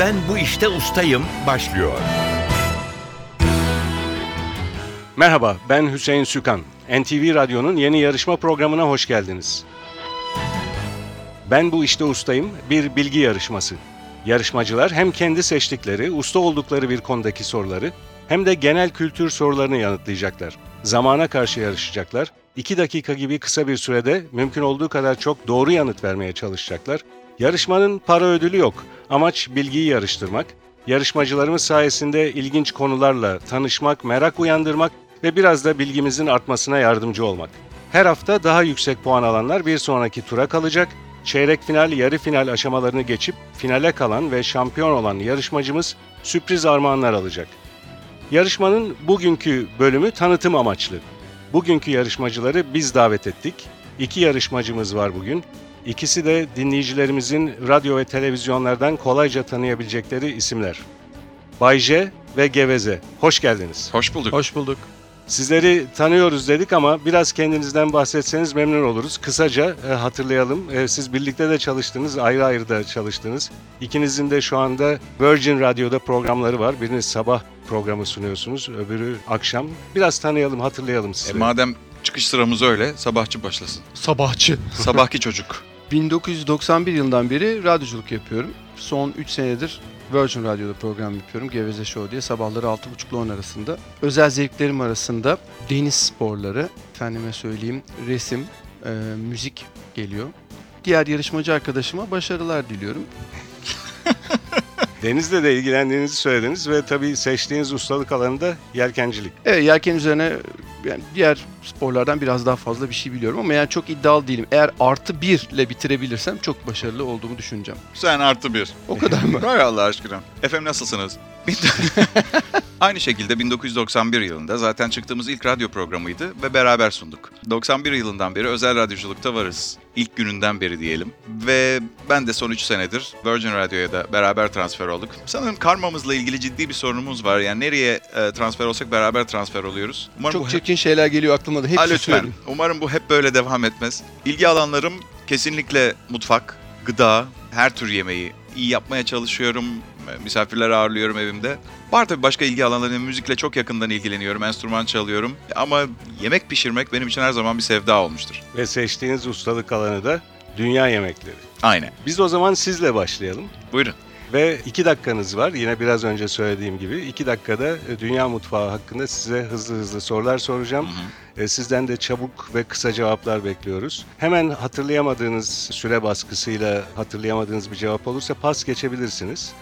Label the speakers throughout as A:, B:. A: Ben bu işte ustayım başlıyor.
B: Merhaba, ben Hüseyin Sükan. NTV Radyo'nun yeni yarışma programına hoş geldiniz. Ben bu işte ustayım, bir bilgi yarışması. Yarışmacılar hem kendi seçtikleri, usta oldukları bir konudaki soruları hem de genel kültür sorularını yanıtlayacaklar. Zamana karşı yarışacaklar. 2 dakika gibi kısa bir sürede mümkün olduğu kadar çok doğru yanıt vermeye çalışacaklar. Yarışmanın para ödülü yok. Amaç bilgiyi yarıştırmak. Yarışmacılarımız sayesinde ilginç konularla tanışmak, merak uyandırmak ve biraz da bilgimizin artmasına yardımcı olmak. Her hafta daha yüksek puan alanlar bir sonraki tura kalacak. Çeyrek final, yarı final aşamalarını geçip finale kalan ve şampiyon olan yarışmacımız sürpriz armağanlar alacak. Yarışmanın bugünkü bölümü tanıtım amaçlı. Bugünkü yarışmacıları biz davet ettik. İki yarışmacımız var bugün. İkisi de dinleyicilerimizin radyo ve televizyonlardan kolayca tanıyabilecekleri isimler. Bay J ve Geveze. Hoş geldiniz.
C: Hoş bulduk.
D: Hoş bulduk.
B: Sizleri tanıyoruz dedik ama biraz kendinizden bahsetseniz memnun oluruz. Kısaca e, hatırlayalım. E, siz birlikte de çalıştınız, ayrı ayrı da çalıştınız. İkinizin de şu anda Virgin Radyo'da programları var. Biriniz sabah programı sunuyorsunuz, öbürü akşam. Biraz tanıyalım, hatırlayalım
C: E,
B: sizi.
C: madem çıkış sıramız öyle, sabahçı başlasın.
D: Sabahçı.
C: Sabahki çocuk.
D: 1991 yılından beri radyoculuk yapıyorum. Son 3 senedir Virgin Radyo'da program yapıyorum. Geveze Show diye sabahları 6.30'la 10 arasında. Özel zevklerim arasında deniz sporları, efendime söyleyeyim resim, e, müzik geliyor. Diğer yarışmacı arkadaşıma başarılar diliyorum.
B: Denizle de ilgilendiğinizi söylediniz ve tabii seçtiğiniz ustalık alanı da yelkencilik.
D: Evet, E, yelken üzerine yani diğer sporlardan biraz daha fazla bir şey biliyorum ama yani çok iddialı değilim. Eğer artı bir ile bitirebilirsem çok başarılı olduğumu düşüneceğim.
C: Sen artı bir.
D: O kadar mı?
C: Hay Allah aşkına. Efendim nasılsınız? Bin- Aynı şekilde 1991 yılında zaten çıktığımız ilk radyo programıydı ve beraber sunduk. 91 yılından beri özel radyoculukta varız. İlk gününden beri diyelim. Ve ben de son 3 senedir Virgin Radyo'ya da beraber transfer olduk. Sanırım karmamızla ilgili ciddi bir sorunumuz var. Yani nereye e, transfer olsak beraber transfer oluyoruz. Umarım bu
D: Çok çirkin şeyler geliyor aklıma da.
C: Ha,
D: Hepsi
C: lütfen.
D: söyleyeyim.
C: Umarım bu hep böyle devam etmez. İlgi alanlarım kesinlikle mutfak, gıda, her tür yemeği iyi yapmaya çalışıyorum. Misafirler ağırlıyorum evimde. Var tabii başka ilgi alanları. Müzikle çok yakından ilgileniyorum. Enstrüman çalıyorum. Ama yemek pişirmek benim için her zaman bir sevda olmuştur.
B: Ve seçtiğiniz ustalık alanı da dünya yemekleri.
C: Aynen.
B: Biz o zaman sizle başlayalım.
C: Buyurun.
B: Ve iki dakikanız var. Yine biraz önce söylediğim gibi iki dakikada e, dünya mutfağı hakkında size hızlı hızlı sorular soracağım. E, Sizden de çabuk ve kısa cevaplar bekliyoruz. Hemen hatırlayamadığınız süre baskısıyla hatırlayamadığınız bir cevap olursa pas geçebilirsiniz.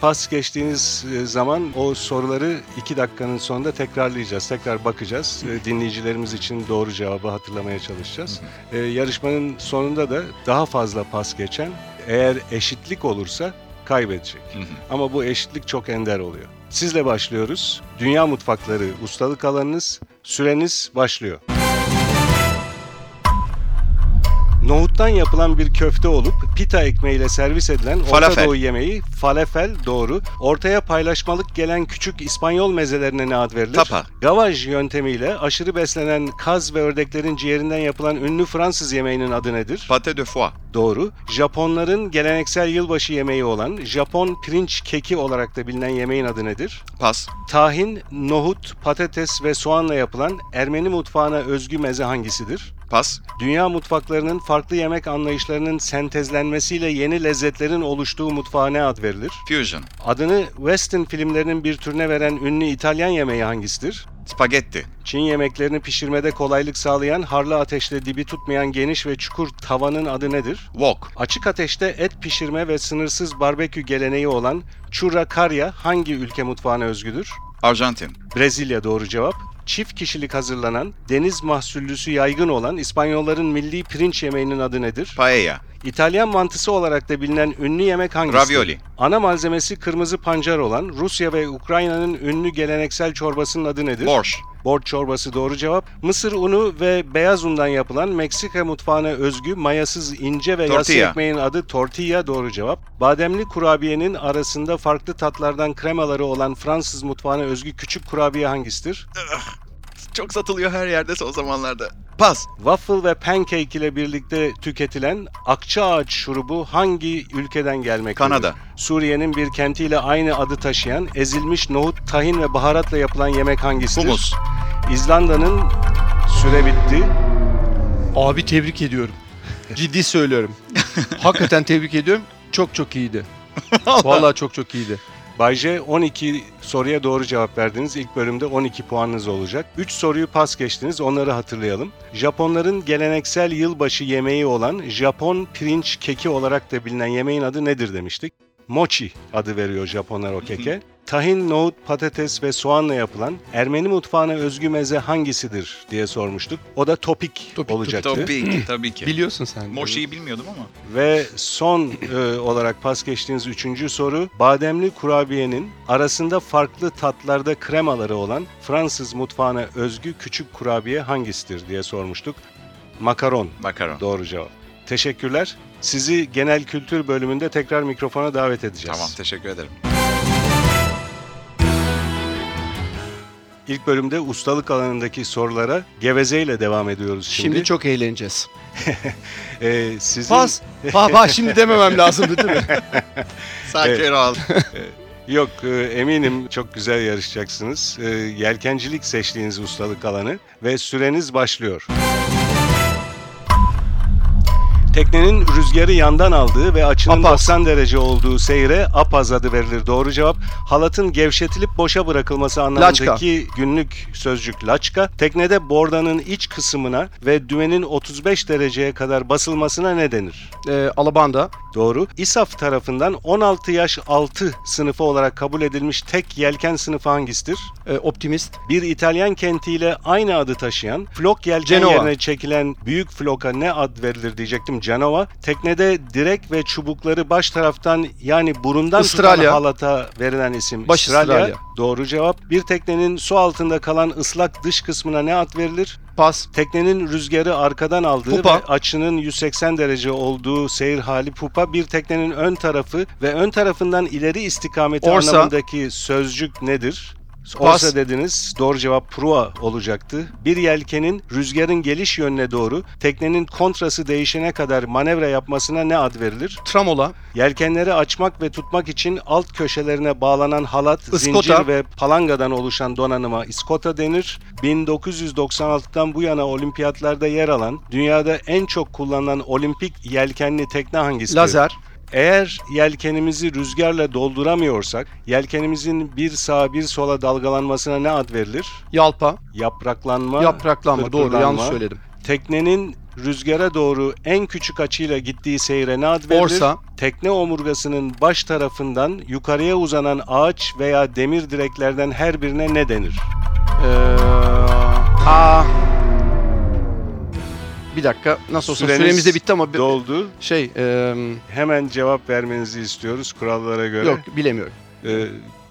B: Pas geçtiğiniz e, zaman o soruları iki dakikanın sonunda tekrarlayacağız. Tekrar bakacağız. E, Dinleyicilerimiz için doğru cevabı hatırlamaya çalışacağız. E, Yarışmanın sonunda da daha fazla pas geçen eğer eşitlik olursa kaybedecek.
C: Hı hı.
B: Ama bu eşitlik çok ender oluyor. Sizle başlıyoruz. Dünya mutfakları ustalık alanınız, süreniz başlıyor. Nohuttan yapılan bir köfte olup pita ekmeğiyle servis edilen Orta
C: Falafel.
B: Doğu yemeği falafel doğru. Ortaya paylaşmalık gelen küçük İspanyol mezelerine ne ad verilir?
C: Tapa.
B: Gavaj yöntemiyle aşırı beslenen kaz ve ördeklerin ciğerinden yapılan ünlü Fransız yemeğinin adı nedir?
C: Pate de foie.
B: Doğru. Japonların geleneksel yılbaşı yemeği olan Japon pirinç keki olarak da bilinen yemeğin adı nedir?
C: Pas.
B: Tahin, nohut, patates ve soğanla yapılan Ermeni mutfağına özgü meze hangisidir?
C: Pas.
B: Dünya mutfaklarının farklı yemek anlayışlarının sentezlenmesiyle yeni lezzetlerin oluştuğu mutfağa ne ad verilir?
C: Fusion.
B: Adını western filmlerinin bir türüne veren ünlü İtalyan yemeği hangisidir?
C: Spagetti.
B: Çin yemeklerini pişirmede kolaylık sağlayan, harlı ateşle dibi tutmayan geniş ve çukur tavanın adı nedir?
C: Wok.
B: Açık ateşte et pişirme ve sınırsız barbekü geleneği olan churrascaria hangi ülke mutfağına özgüdür?
C: Arjantin.
B: Brezilya doğru cevap. Çift kişilik hazırlanan, deniz mahsullüsü yaygın olan İspanyolların milli pirinç yemeğinin adı nedir?
C: Paella.
B: İtalyan mantısı olarak da bilinen ünlü yemek hangisidir?
C: Ravioli.
B: Ana malzemesi kırmızı pancar olan Rusya ve Ukrayna'nın ünlü geleneksel çorbasının adı nedir?
C: Borş.
B: Borç çorbası doğru cevap. Mısır unu ve beyaz undan yapılan Meksika mutfağına özgü mayasız ince ve yassı
C: Tortilla.
B: ekmeğin adı tortilla doğru cevap. Bademli kurabiyenin arasında farklı tatlardan kremaları olan Fransız mutfağına özgü küçük kurabiye hangisidir?
C: Çok satılıyor her yerde son zamanlarda. Pas.
B: Waffle ve pancake ile birlikte tüketilen akça ağaç şurubu hangi ülkeden gelmektedir?
C: Kanada.
B: Suriye'nin bir kentiyle aynı adı taşıyan ezilmiş nohut, tahin ve baharatla yapılan yemek hangisidir?
C: Humus.
B: İzlanda'nın süre bitti.
D: Abi tebrik ediyorum. Ciddi söylüyorum. Hakikaten tebrik ediyorum. Çok çok iyiydi. Vallahi çok çok iyiydi.
B: Bayce 12 soruya doğru cevap verdiniz. İlk bölümde 12 puanınız olacak. 3 soruyu pas geçtiniz. Onları hatırlayalım. Japonların geleneksel yılbaşı yemeği olan Japon pirinç keki olarak da bilinen yemeğin adı nedir demiştik. Mochi adı veriyor Japonlar o keke. Tahin, nohut, patates ve soğanla yapılan Ermeni mutfağına özgü meze hangisidir diye sormuştuk. O da topik,
D: Topik,
B: olacaktı.
C: Tabii ki, tabii ki.
D: Biliyorsun sen.
C: Moşi'yi bilmiyordum ama.
B: Ve son e, olarak pas geçtiğiniz üçüncü soru. Bademli kurabiyenin arasında farklı tatlarda kremaları olan Fransız mutfağına özgü küçük kurabiye hangisidir diye sormuştuk. Makaron
C: Makaron.
B: doğru cevap. Teşekkürler. Sizi genel kültür bölümünde tekrar mikrofona davet edeceğiz.
C: Tamam teşekkür ederim.
B: İlk bölümde ustalık alanındaki sorulara gevezeyle devam ediyoruz şimdi.
D: Şimdi, çok eğleneceğiz.
B: E, sizin...
D: Pas. Ha, ha, şimdi dememem lazımdı değil mi?
C: Sakin ol.
B: Yok e, eminim çok güzel yarışacaksınız. E, Yelkencilik seçtiğiniz ustalık alanı ve süreniz başlıyor. Teknenin rüzgarı yandan aldığı ve açının
D: Apaz.
B: 90 derece olduğu seyre apaz adı verilir. Doğru cevap. Halatın gevşetilip boşa bırakılması anlamındaki günlük sözcük laçka. Teknede bordanın iç kısmına ve düğmenin 35 dereceye kadar basılmasına ne denir?
D: Ee, Alabanda.
B: Doğru. İSAF tarafından 16 yaş altı sınıfı olarak kabul edilmiş tek yelken sınıfı hangisidir?
D: e, optimist.
B: Bir İtalyan kentiyle aynı adı taşıyan, flok yelken
D: Genova.
B: yerine çekilen büyük floka ne ad verilir diyecektim. Canova. Teknede direk ve çubukları baş taraftan yani burundan tutan
D: Istralya.
B: halata verilen isim.
D: Baş Istralya.
B: Doğru cevap. Bir teknenin su altında kalan ıslak dış kısmına ne ad verilir?
D: Pas.
B: Teknenin rüzgarı arkadan aldığı
D: Pupa.
B: ve açının 180 derece olduğu seyir hali pupa bir teknenin ön tarafı ve ön tarafından ileri istikameti
D: Orsa.
B: anlamındaki sözcük nedir?
D: Pas.
B: Orsa dediniz. Doğru cevap prua olacaktı. Bir yelkenin rüzgarın geliş yönüne doğru teknenin kontrası değişene kadar manevra yapmasına ne ad verilir?
D: Tramola.
B: Yelkenleri açmak ve tutmak için alt köşelerine bağlanan halat,
D: Iskota.
B: zincir ve palangadan oluşan donanıma iskota denir. 1996'dan bu yana olimpiyatlarda yer alan, dünyada en çok kullanılan olimpik yelkenli tekne hangisidir?
D: Lazer.
B: Eğer yelkenimizi rüzgarla dolduramıyorsak, yelkenimizin bir sağa bir sola dalgalanmasına ne ad verilir?
D: Yalpa.
B: Yapraklanma,
D: Yapraklanma. Doğru.
B: pırpırlanma.
D: Yanlış söyledim.
B: Teknenin rüzgara doğru en küçük açıyla gittiği seyre ne ad verilir?
D: Borsa.
B: Tekne omurgasının baş tarafından yukarıya uzanan ağaç veya demir direklerden her birine ne denir?
D: Ee, aa. Bir dakika. Nasıl olsa
B: Süreniz
D: süremiz de bitti ama bir-
B: Doldu.
D: şey eee,
B: Hemen cevap vermenizi istiyoruz kurallara göre.
D: yok bilemiyorum.
B: Ee,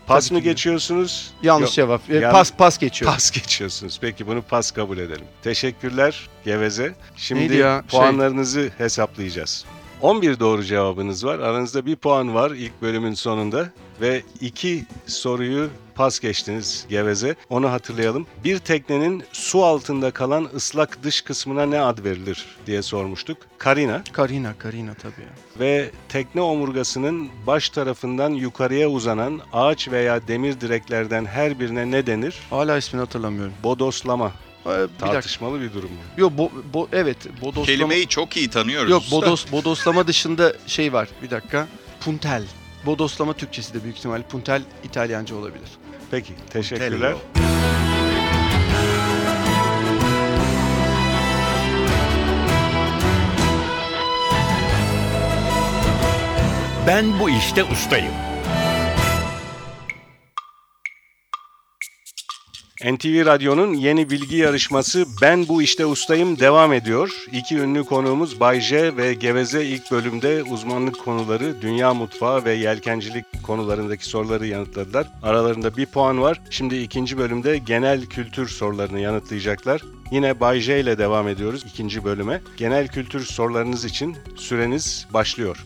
B: pas
D: Tabii
B: mı
D: ki de.
B: geçiyorsunuz?
D: Yanlış
B: Yok,
D: cevap. Ee,
B: Yanlış.
D: Pas pas geçiyor.
B: Pas geçiyorsunuz. Peki bunu pas kabul edelim. Teşekkürler Geveze. Şimdi
D: Neydi ya? Şey-
B: puanlarınızı hesaplayacağız. 11 doğru cevabınız var. Aranızda bir puan var ilk bölümün sonunda ve iki soruyu pas geçtiniz geveze. Onu hatırlayalım. Bir teknenin su altında kalan ıslak dış kısmına ne ad verilir diye sormuştuk. Karina
D: Karina Karina tabii. ya.
B: ve tekne omurgasının baş tarafından yukarıya uzanan ağaç veya demir direklerden her birine ne denir?
D: Hala ismini hatırlamıyorum.
B: Bodoslama.
D: Ee, bir dakika.
B: Tartışmalı bir durum bu.
D: Yok bo, bo- evet bodoslama.
C: Kelimeyi çok iyi tanıyoruz.
D: Yok
C: usta.
D: bodos bodoslama dışında şey var. Bir dakika. Puntel. Bodoslama Türkçesi de büyük ihtimal puntel İtalyanca olabilir.
B: Peki, teşekkürler.
A: Ben bu işte ustayım.
B: NTV Radyo'nun yeni bilgi yarışması Ben Bu İşte Ustayım devam ediyor. İki ünlü konuğumuz Bay J ve Geveze ilk bölümde uzmanlık konuları, dünya mutfağı ve yelkencilik konularındaki soruları yanıtladılar. Aralarında bir puan var. Şimdi ikinci bölümde genel kültür sorularını yanıtlayacaklar. Yine Bay J ile devam ediyoruz ikinci bölüme. Genel kültür sorularınız için süreniz başlıyor.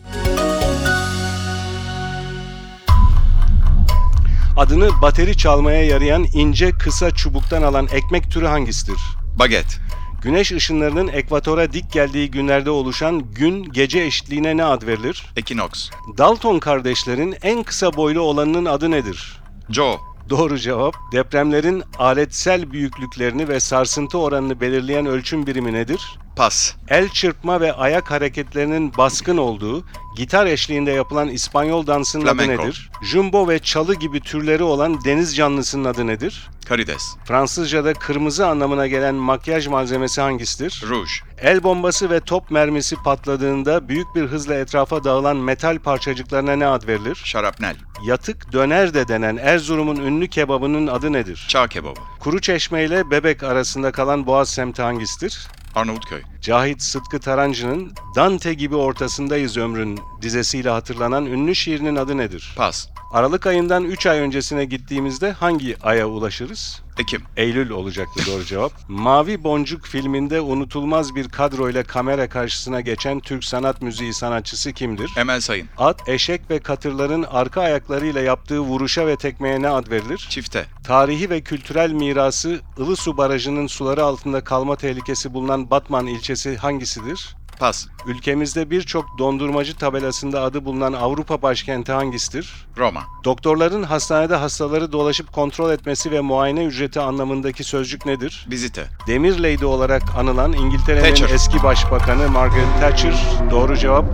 B: Adını bateri çalmaya yarayan ince kısa çubuktan alan ekmek türü hangisidir?
C: Baget.
B: Güneş ışınlarının ekvatora dik geldiği günlerde oluşan gün gece eşitliğine ne ad verilir?
C: Equinox.
B: Dalton kardeşlerin en kısa boylu olanının adı nedir?
C: Joe.
B: Doğru cevap. Depremlerin aletsel büyüklüklerini ve sarsıntı oranını belirleyen ölçüm birimi nedir?
C: Pas.
B: El çırpma ve ayak hareketlerinin baskın olduğu, gitar eşliğinde yapılan İspanyol dansının adı
C: Flamenco.
B: nedir? Jumbo ve çalı gibi türleri olan deniz canlısının adı nedir?
C: Karides.
B: Fransızca'da kırmızı anlamına gelen makyaj malzemesi hangisidir?
C: Ruj.
B: El bombası ve top mermisi patladığında büyük bir hızla etrafa dağılan metal parçacıklarına ne ad verilir?
C: Şarapnel.
B: Yatık döner de denen Erzurum'un ünlü kebabının adı nedir?
C: Çağ kebabı.
B: Kuru Çeşme ile Bebek arasında kalan Boğaz semti hangisidir?
C: Arnavutköy.
B: Cahit Sıtkı Tarancı'nın Dante gibi ortasındayız ömrün dizesiyle hatırlanan ünlü şiirinin adı nedir?
C: Pas.
B: Aralık ayından 3 ay öncesine gittiğimizde hangi aya ulaşırız?
C: Ekim.
B: Eylül olacaktı doğru cevap. Mavi Boncuk filminde unutulmaz bir kadroyla kamera karşısına geçen Türk sanat müziği sanatçısı kimdir?
C: Emel Sayın.
B: At, eşek ve katırların arka ayaklarıyla yaptığı vuruşa ve tekmeye ne ad verilir?
C: Çifte.
B: Tarihi ve kültürel mirası Ilısu Barajı'nın suları altında kalma tehlikesi bulunan Batman ilçesi hangisidir?
C: Pas.
B: Ülkemizde birçok dondurmacı tabelasında adı bulunan Avrupa başkenti hangisidir?
C: Roma.
B: Doktorların hastanede hastaları dolaşıp kontrol etmesi ve muayene ücreti anlamındaki sözcük nedir?
C: Vizite.
B: Demir Lady olarak anılan İngiltere'nin
C: Thatcher.
B: eski başbakanı Margaret Thatcher. Doğru cevap.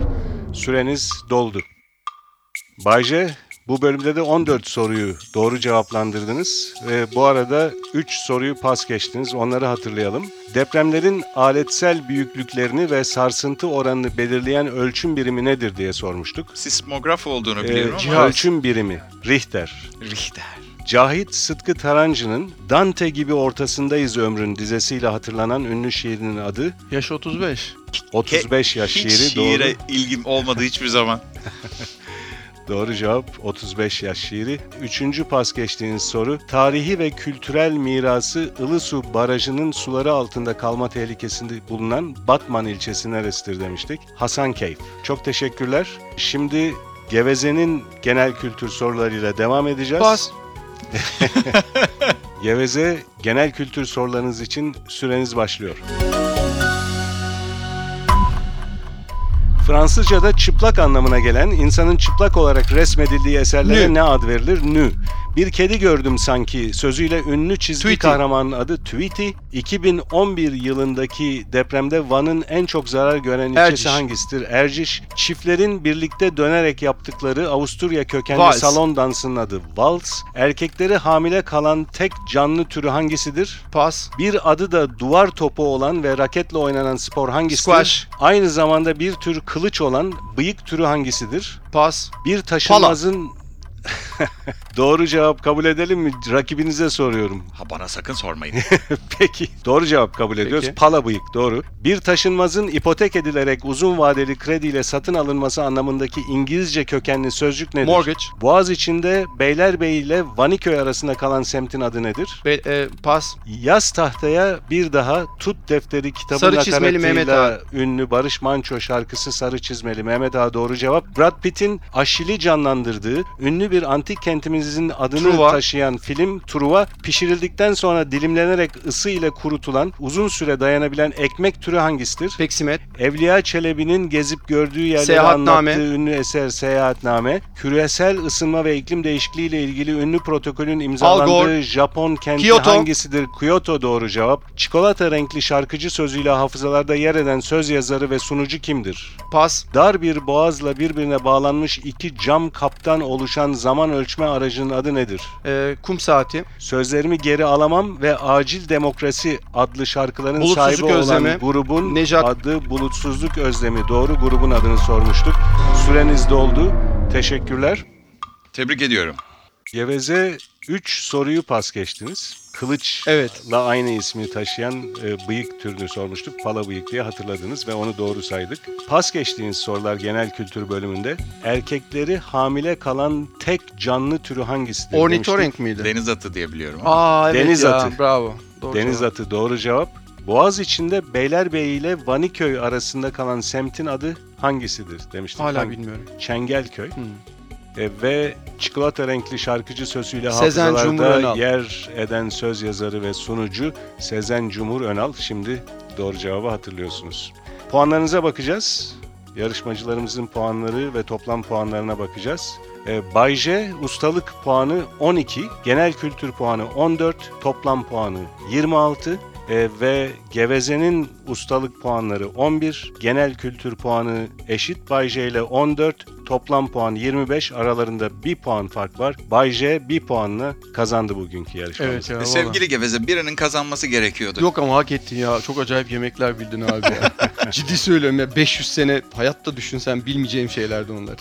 B: Süreniz doldu. Bayce, bu bölümde de 14 soruyu doğru cevaplandırdınız ve bu arada 3 soruyu pas geçtiniz. Onları hatırlayalım. Depremlerin aletsel büyüklüklerini ve sarsıntı oranını belirleyen ölçüm birimi nedir diye sormuştuk.
C: Sismograf olduğunu
B: Ee,
C: biliyorum ama.
B: ölçüm birimi Richter.
C: Richter.
B: Cahit Sıtkı Tarancı'nın Dante gibi ortasındayız ömrün dizesiyle hatırlanan ünlü şiirinin adı
D: Yaş 35.
B: 35 yaş
C: Hiç
B: şiiri
C: şiire ilgim olmadı hiçbir zaman.
B: doğru. Doğru cevap 35 yaş şiiri. Üçüncü pas geçtiğiniz soru. Tarihi ve kültürel mirası Ilısu Barajı'nın suları altında kalma tehlikesinde bulunan Batman ilçesi neresidir demiştik. Hasan Keyf. Çok teşekkürler. Şimdi Geveze'nin genel kültür sorularıyla devam edeceğiz.
D: Pas.
B: Geveze genel kültür sorularınız için süreniz başlıyor. Fransızca'da çıplak anlamına gelen insanın çıplak olarak resmedildiği eserlere
D: Nü.
B: ne ad verilir? Nü. Bir kedi gördüm sanki sözüyle ünlü çizgi
D: Tweety.
B: kahramanın adı Tweety. 2011 yılındaki depremde Van'ın en çok zarar gören ilçesi
D: Erciş.
B: hangisidir? Erciş. Çiftlerin birlikte dönerek yaptıkları Avusturya kökenli
D: Vals.
B: salon dansının adı vals. Erkekleri hamile kalan tek canlı türü hangisidir?
D: Pas.
B: Bir adı da duvar topu olan ve raketle oynanan spor hangisidir?
D: Squash.
B: Aynı zamanda bir tür kılıç olan bıyık türü hangisidir?
D: Pas.
B: Bir taşınmazın... Doğru cevap kabul edelim mi? Rakibinize soruyorum.
C: Ha bana sakın sormayın.
B: Peki. Doğru cevap kabul ediyoruz.
D: Peki.
B: Pala bıyık doğru. Bir taşınmazın ipotek edilerek uzun vadeli krediyle satın alınması anlamındaki İngilizce kökenli sözcük nedir?
D: Mortgage.
B: Boğaz içinde Beylerbeyi ile Vaniköy arasında kalan semtin adı nedir?
D: Be- e, pas.
B: Yaz tahtaya bir daha Tut Defteri kitabı
D: Sarı Çizmeli
B: nakaratıyla
D: Mehmet Ağa.
B: ünlü Barış Manço şarkısı Sarı Çizmeli Mehmet Ağa doğru cevap. Brad Pitt'in Aşil'i canlandırdığı ünlü bir antik kentimizin adını
D: Truva.
B: taşıyan film Truva pişirildikten sonra dilimlenerek ısı ile kurutulan uzun süre dayanabilen ekmek türü hangisidir?
D: Peksimet.
B: Evliya Çelebi'nin gezip gördüğü yerleri
D: Seyahatname.
B: anlattığı ünlü eser Seyahatname, küresel ısınma ve iklim değişikliği ile ilgili ünlü protokolün
D: Al
B: imzalandığı
D: Gore.
B: Japon kenti
D: Kyoto.
B: hangisidir? Kyoto doğru cevap. Çikolata renkli şarkıcı sözüyle hafızalarda yer eden söz yazarı ve sunucu kimdir?
D: Pas.
B: Dar bir boğazla birbirine bağlanmış iki cam kaptan oluşan zaman ölçme aracının adı nedir?
D: E, kum saati.
B: Sözlerimi geri alamam ve Acil Demokrasi adlı şarkıların
D: Bulutsuzluk
B: sahibi
D: Özlemi,
B: olan grubun
D: Nejat-
B: adı Bulutsuzluk Özlemi. Doğru grubun adını sormuştuk. Süreniz doldu. Teşekkürler.
C: Tebrik ediyorum.
B: Geveze 3 soruyu pas geçtiniz. Kılıçla
D: Evet.
B: aynı ismi taşıyan e, bıyık türünü sormuştuk. Pala bıyık diye hatırladınız ve onu doğru saydık. Pas geçtiğiniz sorular genel kültür bölümünde. Erkekleri hamile kalan tek canlı türü hangisidir? demiştik.
D: Ornitorenk miydi?
C: Deniz atı diye biliyorum.
D: Aa evet
B: Deniz
D: ya.
B: atı.
D: Bravo. Doğru
B: Deniz
D: cevap.
B: atı doğru cevap. Boğaz içinde Beylerbeyi ile Vaniköy arasında kalan semtin adı hangisidir demiştik.
D: Hala
B: Hangi-
D: bilmiyorum. Hmm.
B: Çengelköy. E, ve çikolata renkli şarkıcı sözüyle
D: Sezen Cumhur
B: hafızalarda
D: Önal.
B: yer eden söz yazarı ve sunucu Sezen Cumhur Önal şimdi Doğru cevabı hatırlıyorsunuz. Puanlarınıza bakacağız. Yarışmacılarımızın puanları ve toplam puanlarına bakacağız. E, Bay J ustalık puanı 12, genel kültür puanı 14, toplam puanı 26 e, ve Geveze'nin ustalık puanları 11, genel kültür puanı eşit Bay J ile 14, toplam puan 25, aralarında 1 puan fark var. Bay J 1 puanla kazandı bugünkü yarışmamızı.
D: Evet ya. vallahi.
C: Sevgili Geveze birinin kazanması gerekiyordu.
D: Yok ama hak ettin ya. Çok acayip yemekler bildin abi ya. Ciddi söylüyorum ya. 500 sene hayatta düşünsen bilmeyeceğim şeylerdi onlar.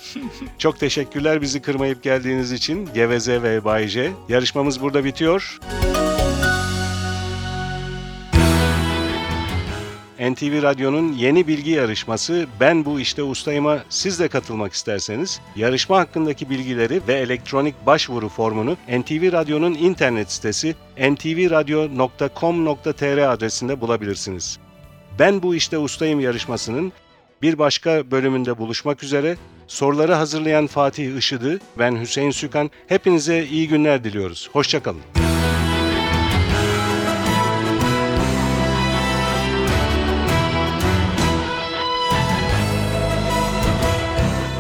B: Çok teşekkürler bizi kırmayıp geldiğiniz için. Geveze ve Bay J. Yarışmamız burada bitiyor. NTV Radyo'nun yeni bilgi yarışması Ben Bu İşte Ustayım'a siz de katılmak isterseniz yarışma hakkındaki bilgileri ve elektronik başvuru formunu NTV Radyo'nun internet sitesi ntvradio.com.tr adresinde bulabilirsiniz. Ben Bu İşte Ustayım yarışmasının bir başka bölümünde buluşmak üzere Soruları hazırlayan Fatih Işıdı, ben Hüseyin Sükan. Hepinize iyi günler diliyoruz. Hoşçakalın.